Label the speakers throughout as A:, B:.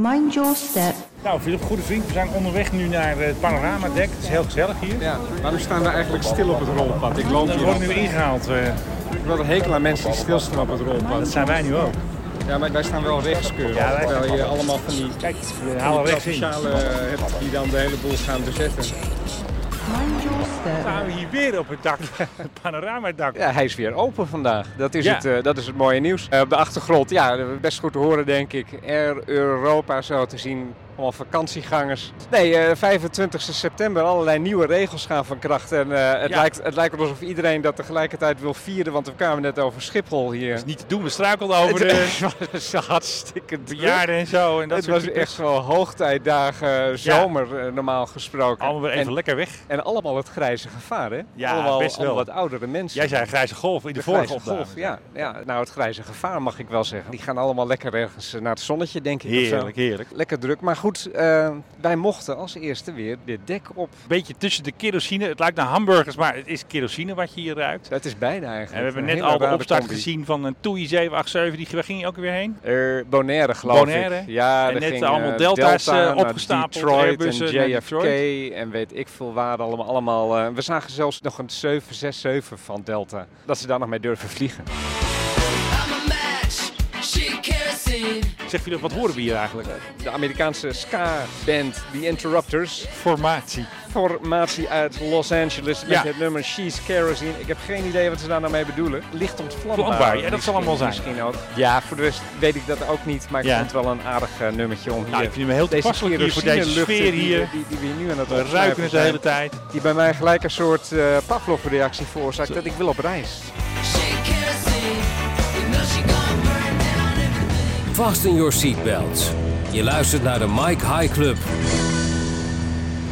A: Mind your step.
B: Nou, Philip, goede vriend, we zijn onderweg nu naar eh, het panoramadek. Het is heel gezellig hier.
C: Ja, waarom staan we eigenlijk stil op het rolpad? Ik loop
B: We
C: hier.
B: worden
C: al.
B: nu ingehaald. eh,
C: Ik wil een hekel aan mensen die stilstaan op het
B: dat
C: rolpad.
B: zijn wij nu ook.
C: Ja, maar wij staan wel rechtskeurig.
B: Ja, wij-
C: Terwijl je allemaal van die
B: Kijk, we halen rechts in.
C: provinciale hebt die dan de hele boel gaan bezetten.
A: Mind your step.
B: staan we hier weer op het dak, het panoramadak.
C: Ja, hij is weer open vandaag. Dat is,
B: Ja.
C: het, eh, dat is het mooie nieuws. Eh, op de achtergrond, ja, best goed te horen denk ik. Air Europa zo te zien. Allemaal vakantiegangers. Nee, eh, 25 september allerlei nieuwe regels gaan van kracht. En eh, het,
B: Ja.
C: lijkt, het lijkt alsof iedereen dat tegelijkertijd wil vieren. Want we kwamen net over Schiphol hier.
B: Niet te doen, we struikelden over de
C: Het was hartstikke druk.
B: bejaarden en zo. En dat
C: het
B: soort
C: was
B: types.
C: echt wel hoogtijdagen, zomer eh, normaal gesproken.
B: Allemaal weer even
C: en,
B: lekker weg.
C: en allemaal het grijze gevaar, hè?
B: Ja,
C: allemaal,
B: best wel.
C: allemaal wat oudere mensen.
B: Jij zei grijze golf in de,
C: De
B: vorige
C: grijze
B: opdracht.
C: golf, ja, ja. Nou, het grijze gevaar mag ik wel zeggen. Die gaan allemaal lekker ergens eh, naar het zonnetje, denk ik. of zo.
B: Heerlijk, heerlijk.
C: Lekker druk. Maar goed, eh, wij mochten als eerste weer dit dek op.
B: Beetje tussen de kerosine. Het lijkt naar hamburgers, maar het is kerosine wat je hier ruikt.
C: Dat is bijna eigenlijk.
B: En we hebben
C: een
B: net
C: hele
B: al de
C: rare
B: opstart
C: combi.
B: gezien van een TUI 787. Die, waar ging je ook weer heen?
C: Eh, Bonaire, geloof
B: Bonaire.
C: ik. Ja,
B: En
C: er
B: net
C: ging,
B: allemaal
C: eh,
B: Delta's,
C: Delta
B: eh,
C: naar
B: opgestapeld,
C: Detroit en
B: Airbussen naar
C: JFK en weet ik veel waar allemaal. allemaal eh, we zagen zelfs nog een 767 van Delta. Dat ze daar nog mee durven vliegen.
D: I'm a match, she kerosene.
B: Zeg Philip, wat horen we hier eigenlijk?
C: De Amerikaanse ska-band The Interrupters.
B: Formatie.
C: Formatie uit Los Angeles met
B: Ja.
C: het nummer She's Kerosene. Ik heb geen idee wat ze daar nou mee bedoelen. Licht ontvlambaar.
B: Vlambaar, ja, dat zal allemaal zijn.
C: misschien- Misschien ook. Ja, voor de rest weet ik dat ook niet. Maar ik
B: Ja.
C: vond het wel een aardig eh, nummertje om hier...
B: Nou, ik vind hem heel toepasselijk hier voor deze
C: kerosineluchten
B: sfeer
C: die-
B: hier.
C: Die, die, we nu aan het
B: We ruiken
C: ontsnuiven
B: het de hele
C: zijn.
B: tijd.
C: Die bij mij gelijk een soort eh Pavlov-reactie veroorzaakt dat ik wil op reis.
D: She kerosene. You know she gon' burn down everything.
E: Fasten your seatbelts. Je luistert naar de Mike High Club.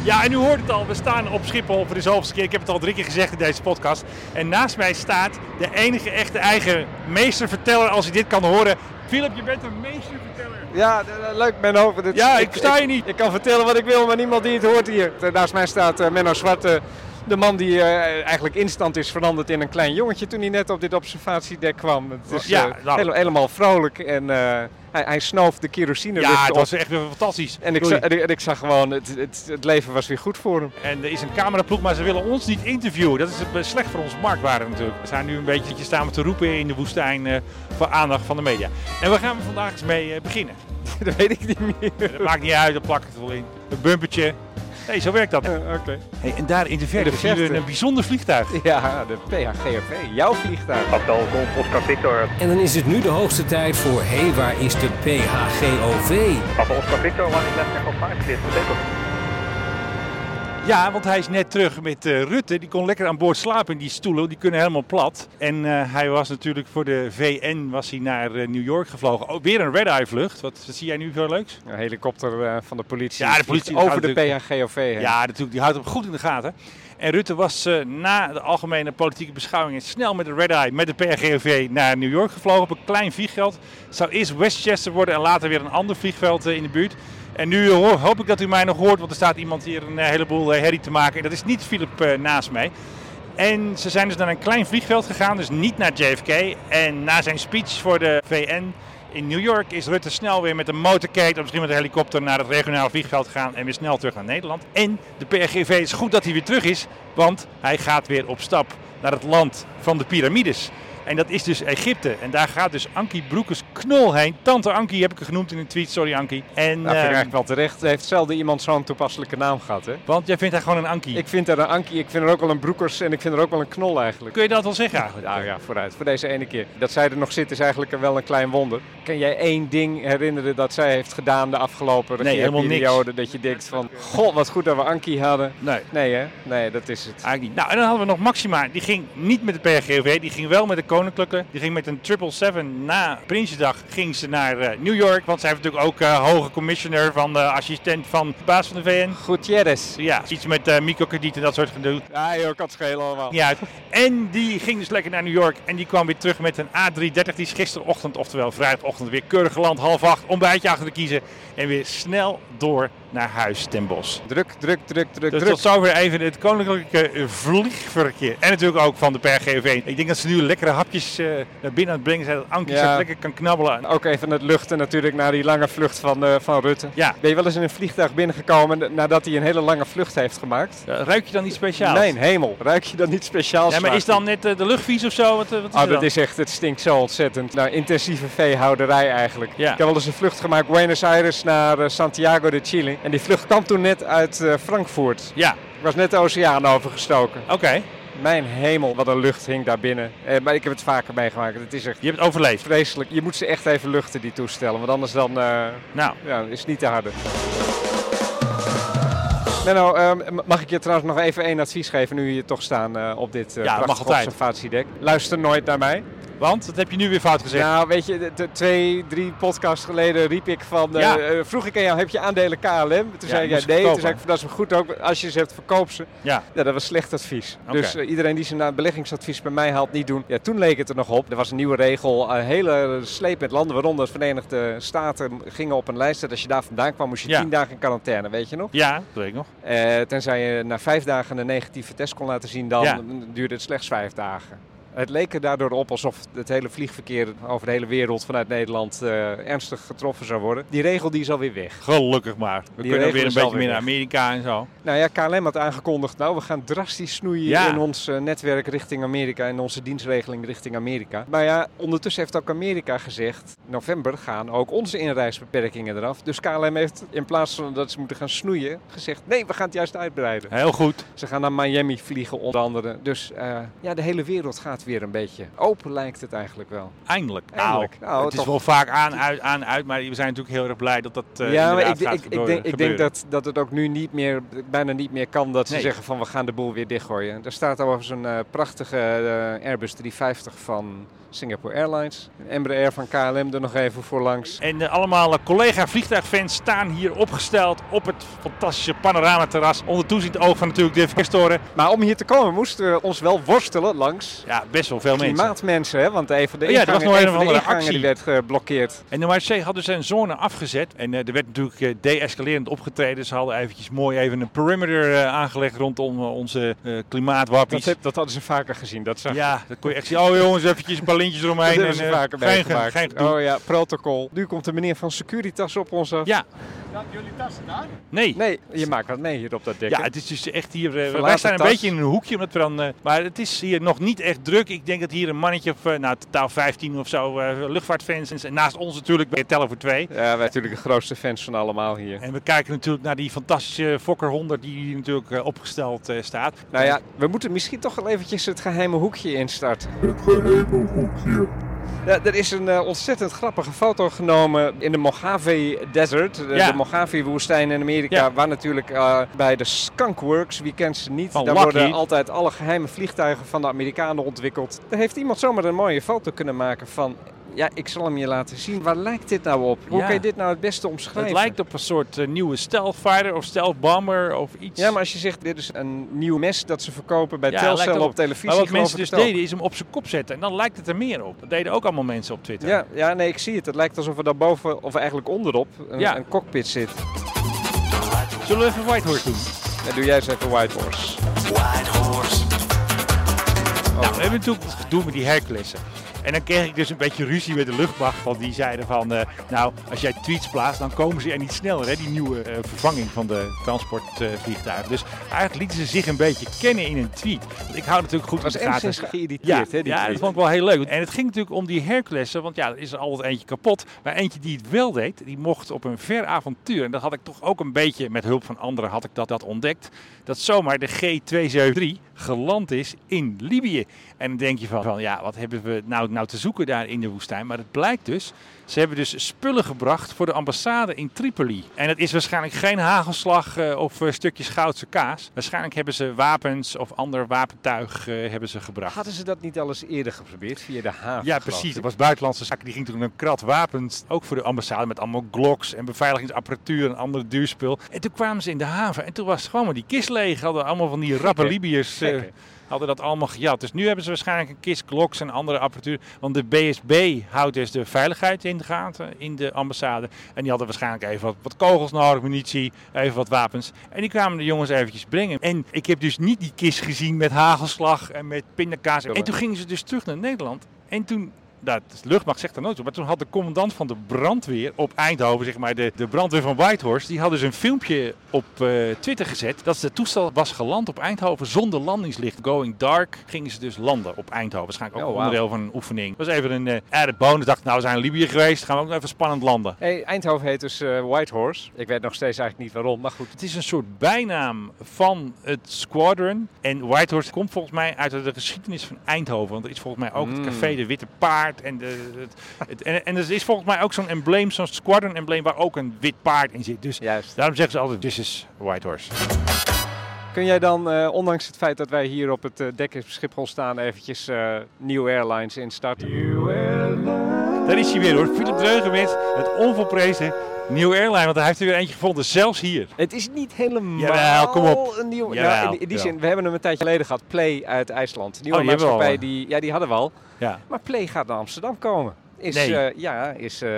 B: Ja, en u hoort het al, we staan op Schiphol voor de zoveelste keer. Ik heb het al drie keer gezegd in deze podcast. En naast mij staat de enige echte eigen meesterverteller, als u dit kan horen. Philip, je bent een meesterverteller.
C: Ja, d- d- leuk Menno. Dit-
B: Ja, ik versta je niet.
C: Ik, kan vertellen wat ik wil, maar niemand die het hoort hier. Eh, Naast mij staat eh, Menno Zwarte. De man die eh, eigenlijk instant is veranderd in een klein jongetje toen hij net op dit observatiedek kwam. Het is
B: Ja,
C: eh,
B: nou.
C: hele- helemaal vrolijk en eh, hij, hij snoof de kerosine
B: Ja,
C: lucht
B: dat
C: op.
B: was echt weer fantastisch.
C: En ik,
B: Doei.
C: za- en, ik, en ik zag gewoon, het, het, het leven was weer goed voor hem.
B: En er is een cameraploeg, maar ze willen ons niet interviewen. Dat is eh, slecht voor onze marktwaarde natuurlijk. We staan nu een beetje staan we te roepen in de woestijn eh, voor aandacht van de media. En waar gaan we vandaag eens mee eh, beginnen?
C: dat weet ik niet meer.
B: Dat maakt niet uit, dan plak ik het wel in. Een bumpertje. Nee, zo werkt dat.
C: Eh, Oké.
B: Hey, en daar in de verte
C: de
B: zien we
C: verte.
B: een bijzonder vliegtuig.
C: Ja, de PHGFV, jouw vliegtuig.
E: En dan is het nu de hoogste tijd voor Hé, hey, waar is de PHGOV?
B: Ja, want hij is net terug met eh, Rutte. Die kon lekker aan boord slapen in die stoelen. Die kunnen helemaal plat. En eh, hij was natuurlijk voor de VN was hij naar eh, New York gevlogen. Oh, weer een red-eye vlucht. Wat, wat zie jij nu zo leuks?
C: Een helikopter eh, van de politie.
B: Ja, de
C: vliegt
B: politie
C: over
B: houdt
C: de PHGOV heen. Nou,
B: Ja, natuurlijk. Die houdt hem goed in de gaten. En Rutte was eh, na de algemene politieke beschouwingen snel met de red-eye, met de PRGOV naar New York gevlogen op een klein vliegveld. Het zou eerst Westchester worden en later weer een ander vliegveld eh, in de buurt. En nu eh, ho- hoop ik dat u mij nog hoort, want er staat iemand hier een eh, heleboel eh, herrie te maken. En dat is niet Philip eh, naast mij. En ze zijn dus naar een klein vliegveld gegaan, dus niet naar JFK. En na zijn speech voor de VN in New York is Rutte snel weer met een motorcade, of misschien met een helikopter, naar het regionale vliegveld gegaan en weer snel terug naar Nederland. En de PRGV is goed dat hij weer terug is, want hij gaat weer op stap naar het land van de piramides. En dat is dus Egypte. En daar gaat dus Ankie Broekers knol heen. Tante Ankie heb ik haar genoemd in een tweet, sorry Ankie. En,
C: Nou, vind ik
B: ehm,
C: eigenlijk wel terecht. Heeft zelden iemand zo'n toepasselijke naam gehad, hè?
B: want jij vindt haar gewoon een Ankie.
C: Ik vind er een Ankie, ik vind er ook wel een Broekers en ik vind er ook wel een Knol eigenlijk.
B: Kun je dat wel zeggen eigenlijk?
C: Nou ja, vooruit. Voor deze ene keer. Dat zij er nog zit is eigenlijk wel een klein wonder. Kan jij één ding herinneren dat zij heeft gedaan de afgelopen
B: Nee, helemaal niks.
C: periode? Dat je denkt van, god wat goed dat we Ankie hadden.
B: Nee.
C: Nee hè? Nee, dat is het.
B: Eigenlijk niet. Nou, en dan hadden we nog Maxima. Die ging niet met de PRGOV, die ging wel met de Koninklijke. Die ging met een 777 na Prinsjesdag ging ze naar eh, New York. Want zij heeft natuurlijk ook eh, hoge commissioner van de assistent van de baas van de VN.
C: Gutierrez.
B: Ja, iets met eh microkrediet en dat soort gedoe.
C: Ja joh, kan het schelen allemaal.
B: Niet uit. En die ging dus lekker naar New York. En die kwam weer terug met een A330. Die is gisterochtend, oftewel vrijdagochtend, weer keurig geland. Half acht, ontbijtje achter de kiezen. En weer snel door naar huis ten bos.
C: Druk, druk, druk, druk,
B: Dus
C: druk.
B: tot zover even het koninklijke vliegverkeer. En natuurlijk ook van de PRGV. Ik denk dat ze nu lekkere hapjes eh, naar binnen aan het brengen zijn. Dat Ankie
C: Ja.
B: zich lekker kan babbelen.
C: Ook even het luchten natuurlijk naar die lange vlucht van, eh, van Rutte.
B: Ja.
C: Ben je wel eens in een vliegtuig binnengekomen nadat hij een hele lange vlucht heeft gemaakt?
B: Eh, Ruik je dan iets speciaals?
C: Mijn hemel, ruik je dan niet speciaal?
B: Ja, maar is dan net eh, de luchtvies of zo? Wat, eh, wat is
C: Oh,
B: er
C: dat
B: dan?
C: is echt, het stinkt zo ontzettend. Nou, intensieve veehouderij eigenlijk.
B: Ja.
C: Ik heb wel eens een vlucht gemaakt, Buenos Aires naar eh, Santiago de Chile. En die vlucht kwam toen net uit eh, Frankfurt.
B: Ja,
C: Ik was net de oceaan overgestoken.
B: oké.
C: Mijn hemel, wat een lucht hing daar binnen. Eh, maar ik heb het vaker meegemaakt. Het is echt
B: Je hebt het overleefd.
C: vreselijk. Je moet ze echt even luchten, die toestellen. Want anders dan, eh,
B: Nou,
C: ja, is het niet te harde. Menno, ehm, mag ik je trouwens nog even één advies geven nu je hier toch staan eh, op dit
B: Ja,
C: eh
B: dat mag
C: prachtige
B: altijd.
C: observatiedek? Luister nooit naar mij.
B: want dat heb je nu weer fout gezegd.
C: Nou, weet je, de, de twee, drie podcasts geleden riep ik van... eh,
B: Ja.
C: eh, vroeg ik aan jou, heb je aandelen KLM? Toen zei ik,
B: moest ik
C: ja, nee. Toen
B: verkopen.
C: zei ik, van, dat is me goed ook. Als je ze hebt, verkoop ze.
B: Ja.
C: Ja, dat was slecht advies.
B: Oké.
C: Dus eh, iedereen die zijn eh, beleggingsadvies bij mij haalt, niet doen. Ja, toen leek het er nog op. Er was een nieuwe regel. eh, Een hele sleep met landen, waaronder de Verenigde Staten, gingen op een lijst. Dat als je daar vandaan kwam, moest je
B: Ja.
C: tien dagen in quarantaine, weet je nog?
B: Ja, dat weet ik nog.
C: Eh, tenzij je na vijf dagen een negatieve test kon laten zien, dan
B: Ja.
C: duurde het slechts vijf dagen. Het leek er daardoor op alsof het hele vliegverkeer over de hele wereld vanuit Nederland eh, ernstig getroffen zou worden. Die regel die is alweer weg.
B: Gelukkig maar. We kunnen
C: regel
B: weer een
C: is
B: beetje
C: alweer
B: meer naar
C: weg.
B: Amerika en zo.
C: Nou ja, KLM had aangekondigd, nou we gaan drastisch snoeien
B: Ja.
C: in ons eh, netwerk richting Amerika en onze dienstregeling richting Amerika. Maar ja, ondertussen heeft ook Amerika gezegd, in november gaan ook onze inreisbeperkingen eraf. Dus KLM heeft in plaats van dat ze moeten gaan snoeien, gezegd nee, we gaan het juist uitbreiden.
B: Heel goed.
C: Ze gaan naar Miami vliegen onder andere. Dus eh, ja, de hele wereld gaat weer een beetje open lijkt het eigenlijk wel.
B: Eindelijk.
C: Eindelijk.
B: Nou,
C: Nou,
B: het is
C: toch.
B: wel vaak aan, uit, aan, uit. Maar we zijn natuurlijk heel erg blij dat dat eh
C: ja, maar ik,
B: inderdaad
C: ik,
B: gaat
C: ik,
B: gebeuren-
C: denk, ik denk
B: gebeuren.
C: dat, dat het ook nu niet meer, bijna niet meer kan dat ze
B: Nee.
C: zeggen van we gaan de boel weer dichtgooien. Er staat overigens een eh, prachtige eh, Airbus 350 van Singapore Airlines. Embraer van KLM er nog even voor langs.
B: En eh, allemaal eh, collega-vliegtuigfans staan hier opgesteld op het fantastische panoramaterras. Onder toezicht oog van natuurlijk de verkeerstoren.
C: Maar om hier te komen moesten we ons wel worstelen langs
B: Ja, best wel veel mensen.
C: klimaatmensen. Hè? Want een van de
B: Oh ja, er was
C: ingangen,
B: nog een
C: een
B: of
C: van de
B: andere
C: ingangen die werd geblokkeerd.
B: En de MHC hadden zijn zone afgezet. En eh, er werd natuurlijk eh, deescalerend opgetreden. Ze hadden eventjes mooi even een perimeter eh, aangelegd rondom eh, onze eh
C: Dat,
B: klimaatwappies.
C: heb, dat hadden ze vaker gezien, dat zag
B: Ja, dat kon je echt zien. Oh jongens, eventjes een paar lintjes eromheen.
C: Dat hebben ze
B: en, eh,
C: vaker
B: geen,
C: meegemaakt.
B: Geen, gedoe.
C: oh ja, protocol. Nu komt de meneer van Securitas op ons af.
B: Ja. jullie tassen daar? Nee.
C: Nee, je maakt wat mee hier op dat dek.
B: Ja,
C: hè?
B: het is dus echt hier. eh, wij
C: Verlaten
B: staan een
C: tas.
B: beetje in een hoekje, omdat we dan, eh, maar het is hier nog niet echt druk. Ik denk dat hier een mannetje of, eh, nou, totaal 15 of zo, eh, luchtvaartfans. En, en naast ons natuurlijk bij Tellen voor Twee.
C: Ja, wij natuurlijk de grootste fans van allemaal hier.
B: En we kijken natuurlijk naar die fantastische Fokker 100 die hier natuurlijk eh, opgesteld eh, staat.
C: Nou ja, we moeten misschien toch wel eventjes het geheime hoekje instarten. Het geheime hoekje. Ja, er is een eh, ontzettend grappige foto genomen in de Mojave Desert, de,
B: Ja.
C: de Mojave-woestijn in Amerika,
B: Ja.
C: waar natuurlijk eh, bij de Skunkworks, wie kent ze niet,
B: Van
C: daar
B: Lockheed.
C: worden altijd alle geheime vliegtuigen van de Amerikanen ontwikkeld. Daar heeft iemand zomaar een mooie foto kunnen maken van, ja, ik zal hem je laten zien. Waar lijkt dit nou op? Hoe
B: Ja.
C: kun je dit nou het beste omschrijven?
B: Het lijkt op een soort eh, nieuwe stealth fighter of stealth bomber of iets.
C: Ja, maar als je zegt, dit is een nieuw mes dat ze verkopen bij
B: Ja, lijkt
C: Telcel
B: erop.
C: op televisie.
B: Maar wat
C: geloof
B: mensen
C: ik
B: dus
C: het ook.
B: deden is hem op zijn kop zetten. En dan lijkt het er meer op. Dat deden ook allemaal mensen op Twitter.
C: Ja, ja, nee, ik zie het. Het lijkt alsof er daarboven, of eigenlijk onderop, een,
B: Ja.
C: een cockpit zit.
B: Zullen we even Whitehorse doen?
C: Ja, doe jij eens even White Horse. Oh.
B: Nou, we hebben natuurlijk het gedoe met die Herculessen. En dan kreeg ik dus een beetje ruzie met de luchtmacht. Want die zeiden van, eh, nou, als jij tweets plaatst, dan komen ze er niet sneller. Hè, die nieuwe eh, vervanging van de transportvliegtuigen. dus eigenlijk lieten ze zich een beetje kennen in een tweet. Want ik hou natuurlijk goed
C: Het was
B: in de gaten.
C: enigszins
B: Ja,
C: geïrriteerd, hè, die
B: ja
C: tweet.
B: dat vond ik wel heel leuk. En het ging natuurlijk om die Herculessen, want ja, er is er altijd eentje kapot. Maar eentje die het wel deed, die mocht op een ver avontuur. En dat had ik toch ook een beetje, met hulp van anderen had ik dat, dat ontdekt. Dat zomaar de G273 geland is in Libië. En dan denk je van, van ja, wat hebben we nou, nou te zoeken daar in de woestijn? Maar het blijkt dus, ze hebben dus spullen gebracht voor de ambassade in Tripoli. En het is waarschijnlijk geen hagelslag eh, of eh, stukjes goudse kaas. Waarschijnlijk hebben ze wapens of ander wapentuig eh, hebben ze gebracht.
C: Hadden ze dat niet al eens eerder geprobeerd via de haven?
B: Ja,
C: geloof
B: precies.
C: ik?
B: Dat was buitenlandse zaken. Die ging toen een krat wapens, ook voor de ambassade, met allemaal Glocks en beveiligingsapparatuur en ander duurspul. En toen kwamen ze in de haven en toen was gewoon maar die kist leeg. Hadden allemaal van die rappe
C: hè?
B: Libiërs eh,
C: Gek, hè?
B: hadden dat allemaal gejat. Dus nu hebben ze waarschijnlijk een kist Glocks en andere apparatuur. Want de BSB houdt dus de veiligheid in de gaten in de ambassade. En die hadden waarschijnlijk even wat, wat kogels nodig, munitie, even wat wapens. En die kwamen de jongens eventjes brengen. En ik heb dus niet die kist gezien met hagelslag en met pindakaas. En toen gingen ze dus terug naar Nederland. En toen Nou, de luchtmacht zegt daar nooit op. Maar toen had de commandant van de brandweer op Eindhoven, zeg maar, de, de brandweer van Whitehorse, die had dus een filmpje op eh, Twitter gezet dat het toestel was geland op Eindhoven zonder landingslicht. Going dark gingen ze dus landen op Eindhoven. Waarschijnlijk ook
C: Oh, wauw.
B: onderdeel van een oefening. Dat was even een eh added bonus. Dacht, nou, we zijn in Libië geweest, gaan we ook nog even spannend landen.
C: Hey, Eindhoven heet dus eh, Whitehorse. Ik weet nog steeds eigenlijk niet waarom, maar goed.
B: Het is een soort bijnaam van het squadron. En Whitehorse komt volgens mij uit de geschiedenis van Eindhoven. Want er is volgens mij ook
C: Hmm.
B: het café De Witte Paard. En, de, het, het- en, en er is volgens mij ook zo'n embleem, zo'n squadron embleem waar ook een wit paard in zit. Dus
C: Juist.
B: daarom zeggen ze altijd, this is Whitehorse.
C: Kun jij dan, eh, ondanks het feit dat wij hier op het eh, dek op Schiphol staan, eventjes eh, New Airlines instarten?
B: Daar is hij weer hoor, Philip Dreugen met het onvolprezen New Airline. Want hij heeft er weer eentje gevonden, zelfs hier.
C: Het is niet helemaal
B: Jawel, kom op.
C: een nieuw...
B: Jawel,
C: nou, in, in die
B: jawel.
C: zin, we hebben hem een tijdje geleden gehad. Play uit IJsland. Nieuwe
B: Oh, die hebben we al,
C: maatschappij,
B: hè?
C: die, ja, die hadden we al.
B: Ja.
C: Maar Play gaat naar Amsterdam komen. Is,
B: Nee.
C: eh, ja, is... eh,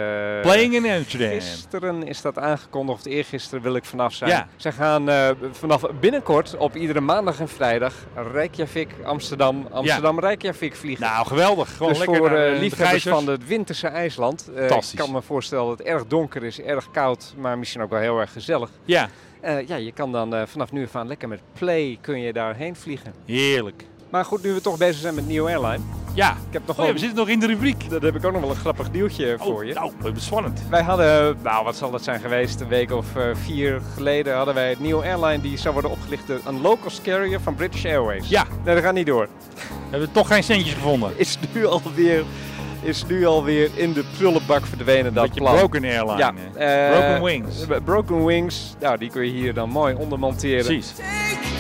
B: Playing in Amsterdam.
C: Gisteren is dat aangekondigd, of eergisteren wil ik vanaf zijn.
B: Ja.
C: Ze gaan eh, vanaf binnenkort op iedere maandag en vrijdag Reykjavik, Amsterdam, Amsterdam, Reykjavik vliegen.
B: Nou, geweldig. Gewoon
C: dus
B: lekker
C: voor
B: naar de-
C: eh,
B: de
C: liefhebbers
B: geizers.
C: van het winterse IJsland. eh, ik
B: Fantastisch.
C: kan me voorstellen dat het erg donker is, erg koud, maar misschien ook wel heel erg gezellig.
B: Ja,
C: Eh, ja, je kan dan eh, vanaf nu af aan lekker met Play kun je daarheen vliegen.
B: heerlijk.
C: Maar goed, nu we toch bezig zijn met New Airline.
B: Ja,
C: Ik heb nog
B: oh, ja,
C: wel-
B: we zitten nog in de rubriek.
C: Dat heb ik ook nog wel een grappig nieuwtje voor je.
B: Nou, dat is spannend.
C: Wij hadden, nou wat zal dat zijn geweest, een week of eh, vier geleden hadden wij het nieuwe airline die zou worden opgelicht. door Een locals carrier van British Airways.
B: Ja.
C: Nee, dat gaat niet door.
B: We hebben toch geen centjes gevonden.
C: Is nu alweer, is nu alweer in de prullenbak verdwenen dat
B: Beetje
C: plan.
B: broken airline.
C: ja,
B: hè.
C: eh,
B: broken wings.
C: b- Broken Wings, nou die kun je hier dan mooi ondermonteren.
B: Precies.
D: Take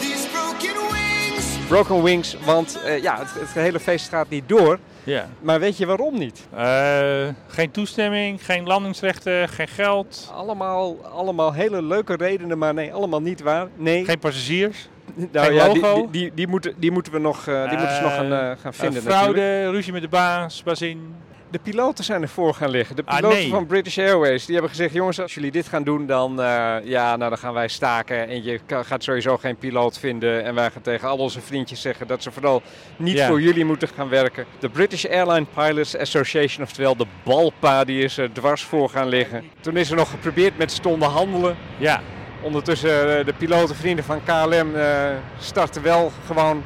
D: these broken wings.
C: Broken Wings, want eh, ja, het, het hele feest gaat niet door.
B: Ja.
C: Maar weet je waarom niet?
B: Eh, geen toestemming, geen landingsrechten, geen geld,
C: Allemaal, allemaal hele leuke redenen, maar nee, allemaal niet waar. Nee,
B: geen passagiers.
C: Nou
B: Geen
C: ja,
B: logo?
C: Die, die, die, die moeten, die moeten we nog, eh, die moeten ze nog gaan, eh, gaan
B: Eh,
C: vinden.
B: fraude,
C: natuurlijk.
B: ruzie met de baas, bazin.
C: De piloten zijn ervoor gaan liggen. De
B: Ah,
C: piloten
B: nee.
C: van British Airways die hebben gezegd: jongens, als jullie dit gaan doen, dan, eh, ja, nou, dan gaan wij staken. En je ka- gaat sowieso geen piloot vinden. En wij gaan tegen al onze vriendjes zeggen dat ze vooral niet
B: Ja.
C: voor jullie moeten gaan werken. De British Airline Pilots Association, oftewel de BALPA, die is er dwars voor gaan liggen. Toen is er nog geprobeerd met ze handelen.
B: Ja,
C: Ondertussen eh, de piloten, vrienden van KLM, eh, starten wel gewoon.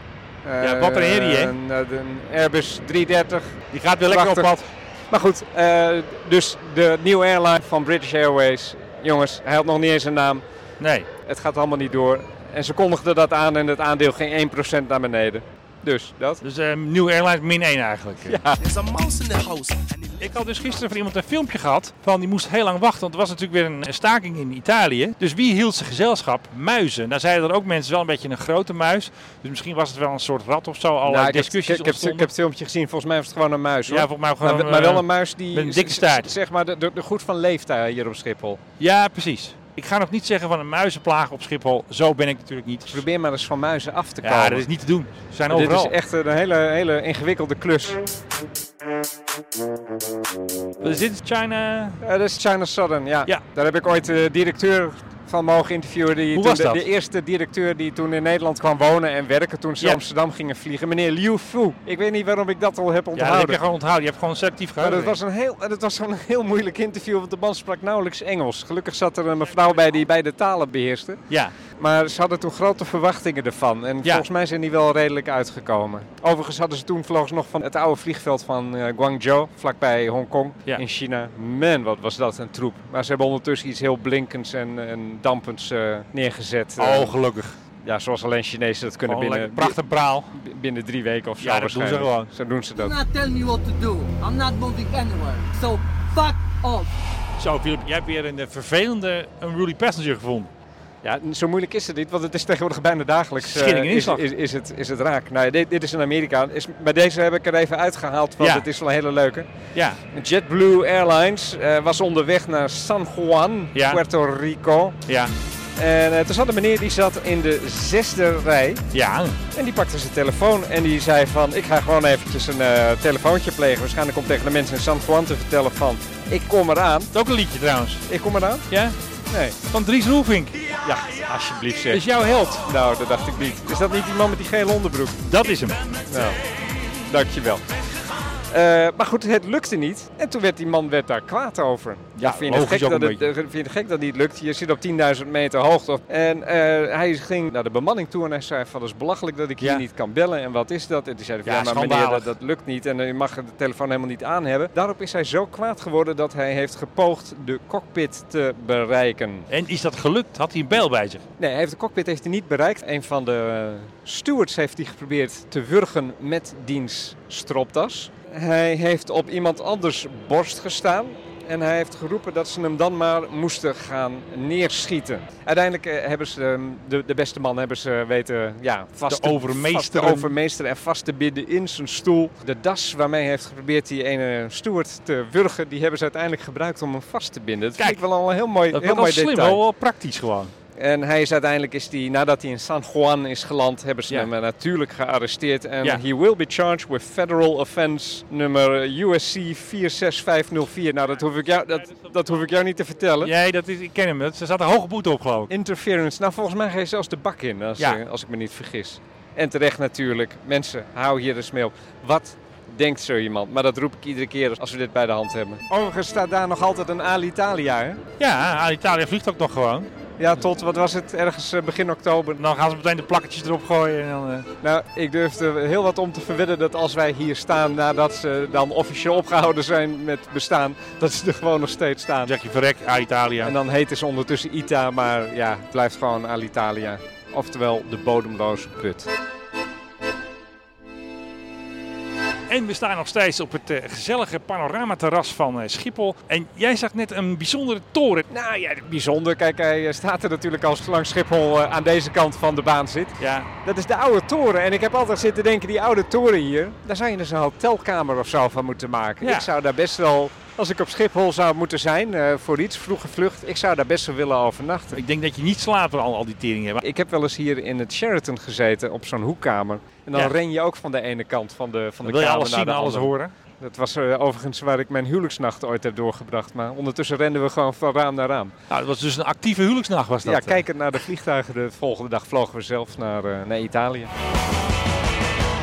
C: eh,
B: Ja, wat een herrie, hè?
C: Een, eh, een Airbus 330.
B: die gaat weer lekker op pad.
C: Prachtig. Maar goed, eh, dus de nieuwe airline van British Airways. Jongens, hij had nog niet eens een naam.
B: Nee,
C: Het gaat allemaal niet door. En ze kondigden dat aan en het aandeel ging 1% naar beneden. Dus dat.
B: dus eh New Airlines min 1 eigenlijk. eh.
F: There's a mouse in the house. And it
B: Ik had dus gisteren van iemand een filmpje gehad van die moest heel lang wachten, want er was natuurlijk weer een staking in Italië. Dus wie hield ze gezelschap? Muizen. Nou zeiden er ook mensen wel een beetje een grote muis, dus misschien was het wel een soort rat of zo. Alle
C: Nou, ik, heb, ik,
B: discussies
C: ik heb, ik heb het filmpje gezien, volgens mij was het gewoon een muis. Hoor.
B: Ja, volgens mij ook
C: maar,
B: gewoon,
C: maar wel
B: eh,
C: een muis die.
B: met een dikke staart.
C: Zeg maar, de, de, de goed van leeftijd hier op Schiphol.
B: Ja, precies. Ik ga nog niet zeggen van een muizenplaag op Schiphol. Zo ben ik natuurlijk niet.
C: Probeer maar eens van muizen af te komen.
B: Ja, dat is niet te doen. Ze zijn
C: Dit
B: overal.
C: is echt een hele, hele ingewikkelde klus.
B: Wat is dit? China?
C: Eh, dat is China Southern, ja.
B: Ja.
C: Daar heb ik ooit de directeur van mogen interviewen. Die
B: Hoe
C: toen
B: was
C: de,
B: dat?
C: de eerste directeur die toen in Nederland kwam wonen en werken toen ze
B: Ja.
C: naar Amsterdam gingen vliegen. Meneer Liu Fu. Ik weet niet waarom ik dat al heb
B: Ja, dat heb
C: onthouden.
B: je gewoon onthouden. Je hebt gewoon selectief
C: maar
B: geheugen.
C: dat was, een heel, dat was zo'n heel moeilijk interview, want de man sprak nauwelijks Engels. Gelukkig zat er een mevrouw bij die beide talen beheerste.
B: Ja.
C: Maar ze hadden toen grote verwachtingen ervan. En
B: Ja.
C: volgens mij zijn die wel redelijk uitgekomen. Overigens hadden ze toen vlogen ze nog van het oude vliegveld van eh, Guangzhou, vlakbij Hongkong
B: Ja.
C: in China. Man, wat was dat een troep. Maar ze hebben ondertussen iets heel blinkends en, en dampends eh, neergezet. Eh,
B: Oh, gelukkig.
C: ja, zoals alleen Chinezen dat kunnen
B: Gewoon lekker
C: binnen,
B: prachtig praal.
C: bi- binnen drie weken of zo.
B: Ja, dat doen ze
C: waarschijnlijk.
B: gewoon.
C: Zo doen ze
G: Do
D: Nou.
C: dat.
G: not tell me what to do. I'm not moving anywhere. So fuck off.
B: Zo, Filip, jij hebt weer een eh, vervelende unruly passenger gevonden.
C: Ja, zo moeilijk is het niet, want het is tegenwoordig bijna dagelijks. eh,
B: Schilling en
C: is,
B: inslag.
C: is, is, het, is het raak. Nou, dit, dit is in Amerika. Is, bij deze heb ik er even uitgehaald, want
B: Ja.
C: het is wel een hele leuke.
B: Ja.
C: JetBlue Airlines eh, was onderweg naar San Juan,
B: Ja.
C: Puerto Rico.
B: Ja.
C: En eh, toen zat een meneer die zat in de zesde rij.
B: Ja.
C: En die pakte zijn telefoon en die zei van... ik ga gewoon eventjes een eh, telefoontje plegen. Waarschijnlijk om tegen de mensen in San Juan te vertellen van... ik kom eraan.
B: Dat is ook een liedje trouwens.
C: Ik kom eraan?
B: Ja?
C: Nee.
B: Van Dries Roelvink.
C: Ja, alsjeblieft
B: Dat is jouw held.
C: Nou, dat dacht ik niet. Is dat niet die man met die gele onderbroek?
B: Dat is hem.
C: Nou, dankjewel. Eh, maar goed, het lukte niet. En toen werd die man werd daar kwaad over.
B: Ja,
C: vind je het
B: logisch
C: gek
B: ook
C: dat
B: een
C: het, eh, vind je het gek dat het niet lukt? Je zit op 10.000 meter hoogte. En eh, hij ging naar de bemanning toe en hij zei van... dat is belachelijk dat ik
B: Ja.
C: hier niet kan bellen. En wat is dat? En die zeiden van,
B: Ja,
C: ja, maar meneer,
B: schandalig.
C: dat, dat lukt niet. En eh, je mag de telefoon helemaal niet aan hebben. Daarop is hij zo kwaad geworden dat hij heeft gepoogd de cockpit te bereiken.
B: En is dat gelukt? Had hij een bijl bij zich?
C: Nee, hij heeft de cockpit heeft hij niet bereikt. Een van de eh, stewards heeft hij geprobeerd te wurgen met diens stropdas. Hij heeft op iemand anders borst gestaan. En hij heeft geroepen dat ze hem dan maar moesten gaan neerschieten. Uiteindelijk eh, hebben ze hem, de, de beste man hebben ze weten ja, vast,
B: Te
C: te-
B: overmeesteren.
C: vast te overmeesteren en vast te binden in zijn stoel. De das waarmee hij heeft geprobeerd die ene steward te wurgen, die hebben ze uiteindelijk gebruikt om hem vast te binden. Dat
B: Kijk,
C: vind ik wel al een heel mooi,
B: Dat
C: heel
B: was wel
C: mooi
B: slim,
C: detail.
B: wel, wel praktisch gewoon.
C: En hij is uiteindelijk, is die, nadat hij in San Juan is geland, hebben ze
B: Ja.
C: hem eh, natuurlijk gearresteerd. En
B: Ja.
C: he will be charged with federal offense nummer eh, USC 46504. Nou, dat hoef ik jou, dat, dat hoef ik jou niet te vertellen.
B: Nee, dat is, ik ken hem. Dat- Ze zaten hoge boete op, geloof ik.
C: Interference. Nou, volgens mij ga je zelfs de bak in, als,
B: Ja.
C: eh, als ik me niet vergis. En terecht natuurlijk. Mensen, hou hier eens mee op. Wat denkt zo iemand? Maar dat roep ik iedere keer als we dit bij de hand hebben. Overigens staat daar nog altijd een Alitalia, hè?
B: Ja, Alitalia vliegt ook nog gewoon.
C: Ja, tot, wat was het, ergens eh, begin oktober.
B: Dan gaan ze meteen de plakketjes erop gooien. En dan, eh,
C: Nou, ik durf er heel wat om te verwedden dat als wij hier staan nadat ze dan officieel opgehouden zijn met bestaan, dat ze er gewoon nog steeds staan.
B: dan zeg je verrek, Alitalia.
C: En dan heet ze ondertussen ITA, maar ja, het blijft gewoon Alitalia. Oftewel de bodemloze put.
B: En we staan nog steeds op het eh, gezellige panoramaterras van eh, Schiphol. En jij zag net een bijzondere toren.
C: Nou ja, bijzonder. Kijk, hij eh, staat er natuurlijk als langs Schiphol eh, aan deze kant van de baan zit.
B: Ja,
C: Dat is de oude toren. En ik heb altijd zitten denken, die oude toren hier, daar zou je dus een hotelkamer of zo van moeten maken.
B: Ja.
C: Ik zou daar best wel, als ik op Schiphol zou moeten zijn eh, voor iets, vroege vlucht, ik zou daar best wel willen overnachten.
B: ik denk dat je niet slaapt van al, al die teringen hebben.
C: Ik heb wel eens hier in het Sheraton gezeten, op zo'n hoekkamer. En dan
B: Ja.
C: ren je ook van de ene kant van de, van de
B: Dan wil je
C: kamer
B: alles
C: naar
B: zien,
C: de
B: alles
C: andere.
B: horen.
C: Dat was eh, overigens waar ik mijn huwelijksnacht ooit heb doorgebracht. Maar ondertussen renden we gewoon van raam naar raam.
B: Nou, het was dus een actieve huwelijksnacht was dat.
C: ja,
B: eh.
C: kijkend naar de vliegtuigen, de volgende dag vlogen we zelf naar, eh, naar Italië.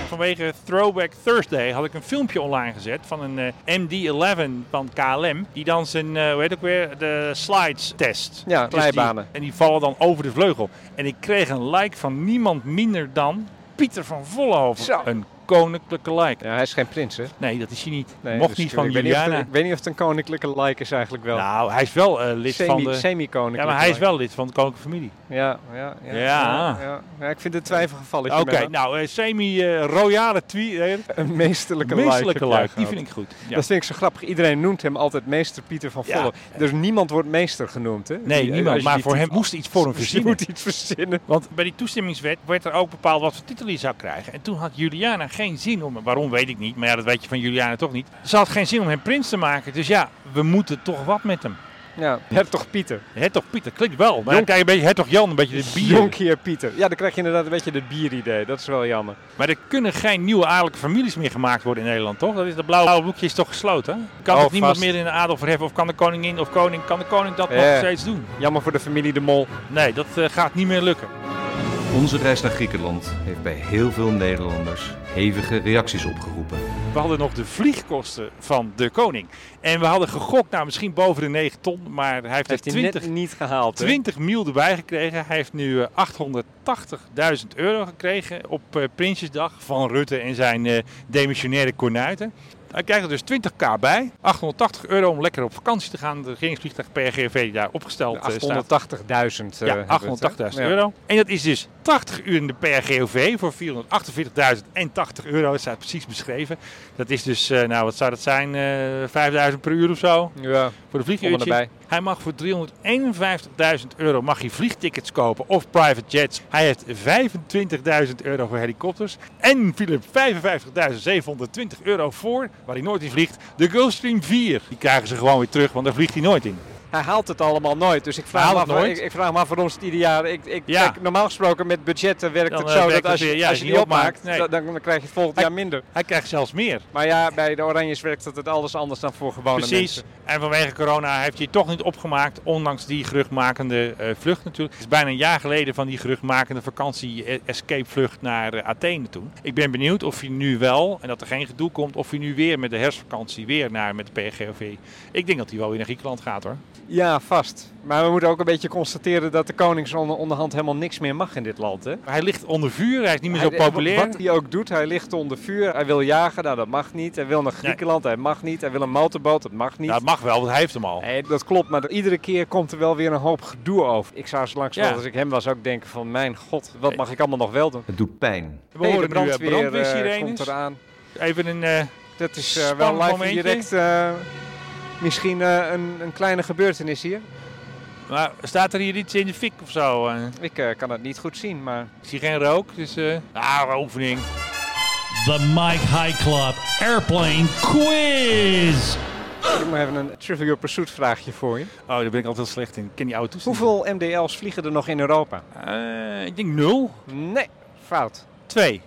B: Vanwege Throwback Thursday had ik een filmpje online gezet van een eh, MD-11 van KLM. Die dan zijn, eh hoe heet het ook weer, de slides test.
C: Ja,
B: Dus die-
C: glijbanen.
B: en die vallen dan over de vleugel. En ik kreeg een like van niemand minder dan Pieter van Vollenhoven.
C: Zo.
B: Een koninklijke like.
C: Ja, hij is geen prins, hè?
B: Nee, dat is hij niet.
C: Nee,
B: Mocht
C: dus
B: niet
C: ik
B: van
C: weet niet of het-
B: Juliana.
C: Ik weet niet of het een koninklijke like is eigenlijk wel.
B: Nou, hij is wel eh, lid van
C: Semi-
B: de... Ja,
C: Semi-koninklijke
B: maar hij is
C: like.
B: wel lid van de koninklijke familie.
C: Ja, ja, ja,
B: Ja.
C: ja. Ja, ik vind het twijfelgevalletje.
B: Oké,
C: met
B: nou, eh, semi-royale tweet.
C: Een meesterlijke,
B: Meestelijke
C: like. heb jij
B: like, die
C: gehad.
B: vind ik goed. Ja.
C: Dat vind ik zo grappig. Iedereen noemt hem altijd meester Pieter van
B: Ja.
C: Volle. Dus niemand wordt meester genoemd, hè?
B: Nee,
C: Die- als
B: niemand.
C: je
B: Maar
C: die
B: voor
C: titel-
B: hem moest iets voor hem
C: Je
B: verzinnen.
C: moet iets verzinnen.
B: Want bij die toestemmingswet werd er ook bepaald wat voor titel hij zou krijgen. En toen had Juliana geen zin om, waarom weet ik niet, maar ja, dat weet je van Juliana toch niet. Ze had geen zin om hem prins te maken. Dus ja, we moeten toch wat met hem.
C: Ja, hertog Pieter.
B: Hertog Pieter klinkt wel, maar dan krijg je een beetje Hertog Jan, een beetje de bier.
C: Jonkheer Pieter. Ja, dan krijg je inderdaad een beetje de bieridee. Dat is wel jammer.
B: Maar er kunnen geen nieuwe adellijke families meer gemaakt worden in Nederland, toch? Dat is, dat blauwe boekje is toch gesloten? hè? Kan
C: Oh,
B: het niemand
C: vast.
B: meer in de adel verheffen? Of kan de koningin of koning, kan de koning dat nog
C: Ja.
B: steeds doen?
C: Jammer voor de familie De Mol.
B: Nee, dat eh, gaat niet meer lukken.
H: Onze reis naar Griekenland heeft bij heel veel Nederlanders hevige reacties opgeroepen.
B: We hadden nog de vliegkosten van de koning. En we hadden gegokt, nou misschien boven de 9 ton, maar hij heeft,
C: Heeft
B: er
C: hij
B: 20,
C: net niet gehaald, hè?
B: 20 mil erbij gekregen. Hij heeft nu eh, 880.000 euro gekregen op eh, Prinsjesdag van Rutte en zijn eh, demissionaire kornuiten. Hij krijgt er dus 20k bij. 880 euro om lekker op vakantie te gaan. De regeringsvliegtuig PRGV die daar opgesteld eh, staat.
C: 880.000. eh,
B: Ja,
C: hebben we het, hè?
B: 880.000
C: Ja.
B: euro. En dat is dus 80 uur in de PRGOV voor 448.080 euro. Dat staat precies beschreven. Dat is dus, eh, nou wat zou dat zijn, eh 5.000 per uur of zo voor
C: Ja,
B: de
C: kom maar
B: vlieguurtje.
C: erbij.
B: Hij mag voor 351.000 euro mag hij vliegtickets kopen of private jets. Hij heeft 25.000 euro voor helikopters. En Philip 55.720 euro voor, waar hij nooit in vliegt, de Gulfstream 4. Die krijgen ze gewoon weer terug, want daar vliegt hij nooit in.
C: hij haalt het allemaal nooit. Dus ik vraag,
B: haalt
C: me af,
B: het nooit.
C: Ik, ik vraag me af waarom ze het ieder jaar... Ik, ik,
B: Ja.
C: kijk, normaal gesproken met budgetten werkt
B: Dan,
C: het
B: eh,
C: zo
B: werkt
C: dat
B: het
C: als je,
B: weer. Ja,
C: als
B: als
C: je
B: je
C: niet
B: niet opmaakt,
C: opmaakt,
B: nee.
C: dan, dan krijg je het volgend
B: Hij-
C: jaar minder.
B: Hij krijgt zelfs meer.
C: Maar ja, bij de Oranjes werkt het alles anders dan voor gewone
B: Precies.
C: mensen.
B: En vanwege corona heeft hij het toch niet opgemaakt, ondanks die geruchtmakende eh, vlucht natuurlijk. Het is bijna een jaar geleden van die geruchtmakende vakantie-escape-vlucht naar eh, Athene toen. Ik ben benieuwd of hij nu wel, en dat er geen gedoe komt, of hij nu weer met de herfstvakantie weer naar met de PGOV. Ik denk dat hij wel weer naar Griekenland gaat hoor.
C: Ja, vast. Maar we moeten ook een beetje constateren dat de konings onder, onderhand helemaal niks meer mag in dit land. Hè?
B: Maar hij ligt onder vuur, hij is niet meer zo
C: Hij-
B: populair.
C: Wat hij ook doet, hij ligt onder vuur. Hij wil jagen, nou dat mag niet. Hij wil naar Griekenland, hij mag niet. Hij wil een motorboot, dat mag niet.
B: Nou, het mag wel, want hij heeft hem al.
C: Nee, dat klopt, maar iedere keer komt er wel weer een hoop gedoe over. Ik zou zo langs
B: Ja.
C: als ik hem was ook denken van mijn god, wat mag ik allemaal nog wel doen?
H: Het doet pijn.
B: We
C: Hey, de
B: horen nu eh,
C: brandweer eh, komt
B: brandweersirenes.
C: eraan.
B: Even een... eh,
C: Dat is eh, wel
B: Spannend
C: live en
B: momentje.
C: direct eh, misschien eh, een, een kleine gebeurtenis hier.
B: maar staat er hier iets in de fik of zo? eh?
C: Ik eh, kan het niet goed zien, maar
B: ik zie geen rook, dus... eh ah, oefening.
I: The Mike High Club Airplane Quiz.
C: ik moet even een Trivial Pursuit vraagje voor je.
B: Oh, daar ben ik altijd heel slecht in. Ik ken die auto's niet.
C: Hoeveel MDL's vliegen er nog in Europa?
B: Eh, ik denk nul.
C: Nee, fout.
B: Twee.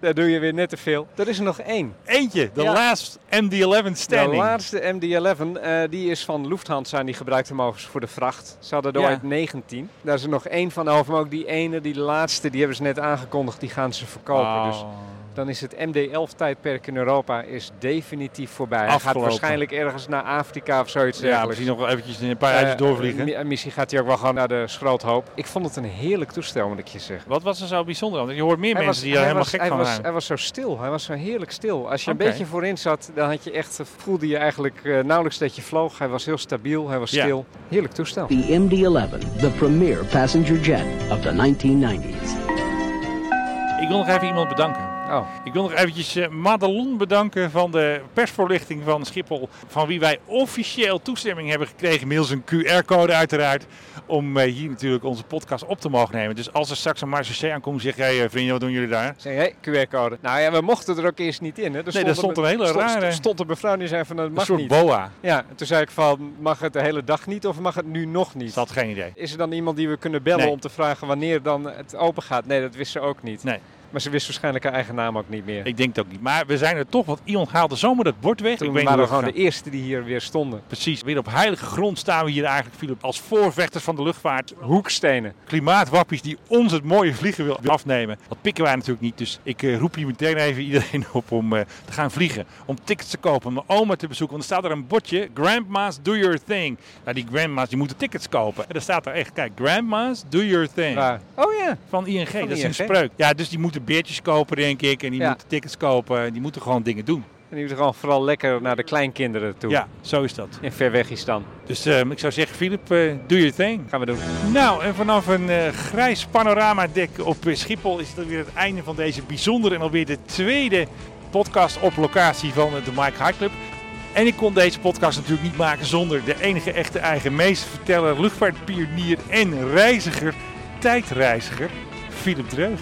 C: Daar doe je weer net te veel. Er is er nog één.
B: Eentje. De
C: Ja.
B: laatste MD-11 standing.
C: De laatste MD-11, eh, die is van Lufthansa en die gebruikt hem overigens voor de vracht. Ze hadden er
B: Ja.
C: ooit 19. Daar is er nog één van over, maar ook die ene, die laatste, die hebben ze net aangekondigd, die gaan ze verkopen.
B: Oh.
C: Dus dan is het MD-11-tijdperk in Europa is definitief voorbij. Hij gaat
B: Afgelopen.
C: waarschijnlijk ergens naar Afrika of zoiets
B: ja,
C: dergelijks.
B: misschien nog wel eventjes een paar uurtjes
C: Eh,
B: doorvliegen.
C: mi- eh, Misschien gaat hij ook wel gewoon naar de schroothoop. Ik vond het een heerlijk toestel, moet ik je zeggen.
B: Wat was er zo bijzonder aan? Je hoort meer mensen die er
C: hij
B: helemaal
C: was-
B: gek
C: hij
B: van
C: was,
B: waren.
C: Hij was zo stil, hij was zo heerlijk stil. Als je
B: Oké.
C: een beetje voorin zat, dan had je echt, voelde je eigenlijk eh, nauwelijks dat je vloog. Hij was heel stabiel, hij was
B: Ja.
C: stil. Heerlijk toestel.
J: The MD 11, the premier passenger jet of the 1990s.
C: eh,
B: Ik wil nog even iemand bedanken.
C: Oh,
B: Ik wil nog eventjes eh, Madelon bedanken van de persvoorlichting van Schiphol. Van wie wij officieel toestemming hebben gekregen. Middels een QR-code uiteraard. Om eh, hier natuurlijk onze podcast op te mogen nemen. Dus als er straks een Marseille aankomt, zeg jij eh, vrienden, wat doen jullie daar?
C: zeg hey, QR-code. Nou ja, we mochten er ook eerst niet in. Hè. Er
B: Nee, daar stond een hele
C: stond,
B: rare-
C: stond een mevrouw die zei van, dat
B: een
C: mag
B: soort
C: niet.
B: boa.
C: Ja, en toen zei ik van, mag het de hele dag niet of mag het nu nog niet?
B: Ze had geen idee.
C: Is er dan iemand die we kunnen bellen
B: Nee.
C: om te vragen wanneer dan het open gaat? Nee, dat wist ze ook niet.
B: Nee.
C: Maar ze wist waarschijnlijk haar eigen naam ook niet meer.
B: Ik denk het ook niet. Maar we zijn er toch, want iemand haalde zomaar dat bord weg.
C: Toen
B: ik weet
C: waren we
B: niet hoe
C: gewoon
B: het
C: de eerste die hier weer stonden.
B: gaat. Precies, weer op heilige grond staan we hier eigenlijk, Philip, als voorvechters van de luchtvaart.
C: Hoekstenen.
B: Klimaatwappies die ons het mooie vliegen wil afnemen. Dat pikken wij natuurlijk niet, dus ik eh, roep hier meteen even iedereen op om eh, te gaan vliegen. Om tickets te kopen, om mijn oma te bezoeken. Want er staat er een bordje, grandma's do your thing. Nou, die grandma's die moeten tickets kopen. En daar staat er echt, kijk, grandma's do your thing.
C: Waar? Oh ja.
B: Van ING, dat is een
C: ING.
B: spreuk. Ja, dus die moeten beertjes kopen, denk ik. En die
C: Ja.
B: moeten tickets kopen. Die moeten gewoon dingen doen.
C: En die moeten gewoon vooral lekker naar de kleinkinderen toe.
B: Ja, zo is dat.
C: In Verwegistan.
B: Dus ehm, ik zou zeggen, Filip, eh doe je thing.
C: Gaan we doen.
B: Nou, en vanaf een eh, grijs panoramadek op eh, Schiphol is het weer het einde van deze bijzondere en alweer de tweede podcast op locatie van eh, de Mike High Club. En ik kon deze podcast natuurlijk niet maken zonder de enige echte eigen meesterverteller, luchtvaartpionier en reiziger, tijdreiziger, Philip Dreug.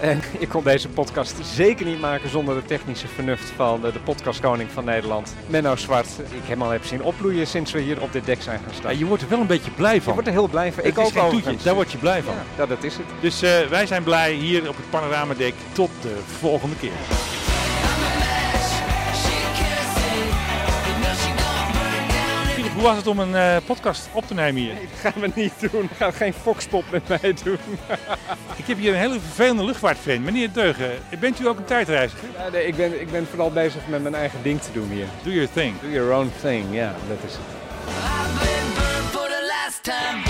C: En ik kon deze podcast zeker niet maken zonder de technische vernuft van eh, de podcastkoning van Nederland, Menno Zwart. Die ik helemaal heb zien opbloeien sinds we hier op dit dek zijn gaan staan.
B: je wordt er wel een beetje blij
C: Je
B: van.
C: wordt er heel blij van.
B: Het
C: ik
B: is
C: ook
B: geen toetje,
C: overigens.
B: daar word je blij van.
C: Ja, ja, dat is het.
B: Dus eh, wij zijn blij hier op het panoramadek. Tot de volgende keer.
D: She can't sing. You know she gonna burn down
B: Philip, hoe was het om een eh, podcast op te nemen hier?
C: Dat gaan we niet doen. Ga geen foxpop met mij doen.
B: Ik heb hier een hele vervelende luchtvaartfan. Meneer Deugen, bent u ook een tijdreiziger?
C: Ja, nee, ik, ben, ik ben vooral bezig met mijn eigen ding te doen hier.
B: Do your thing.
C: Do your own thing, ja, dat is het.
D: I've been burned for the last time.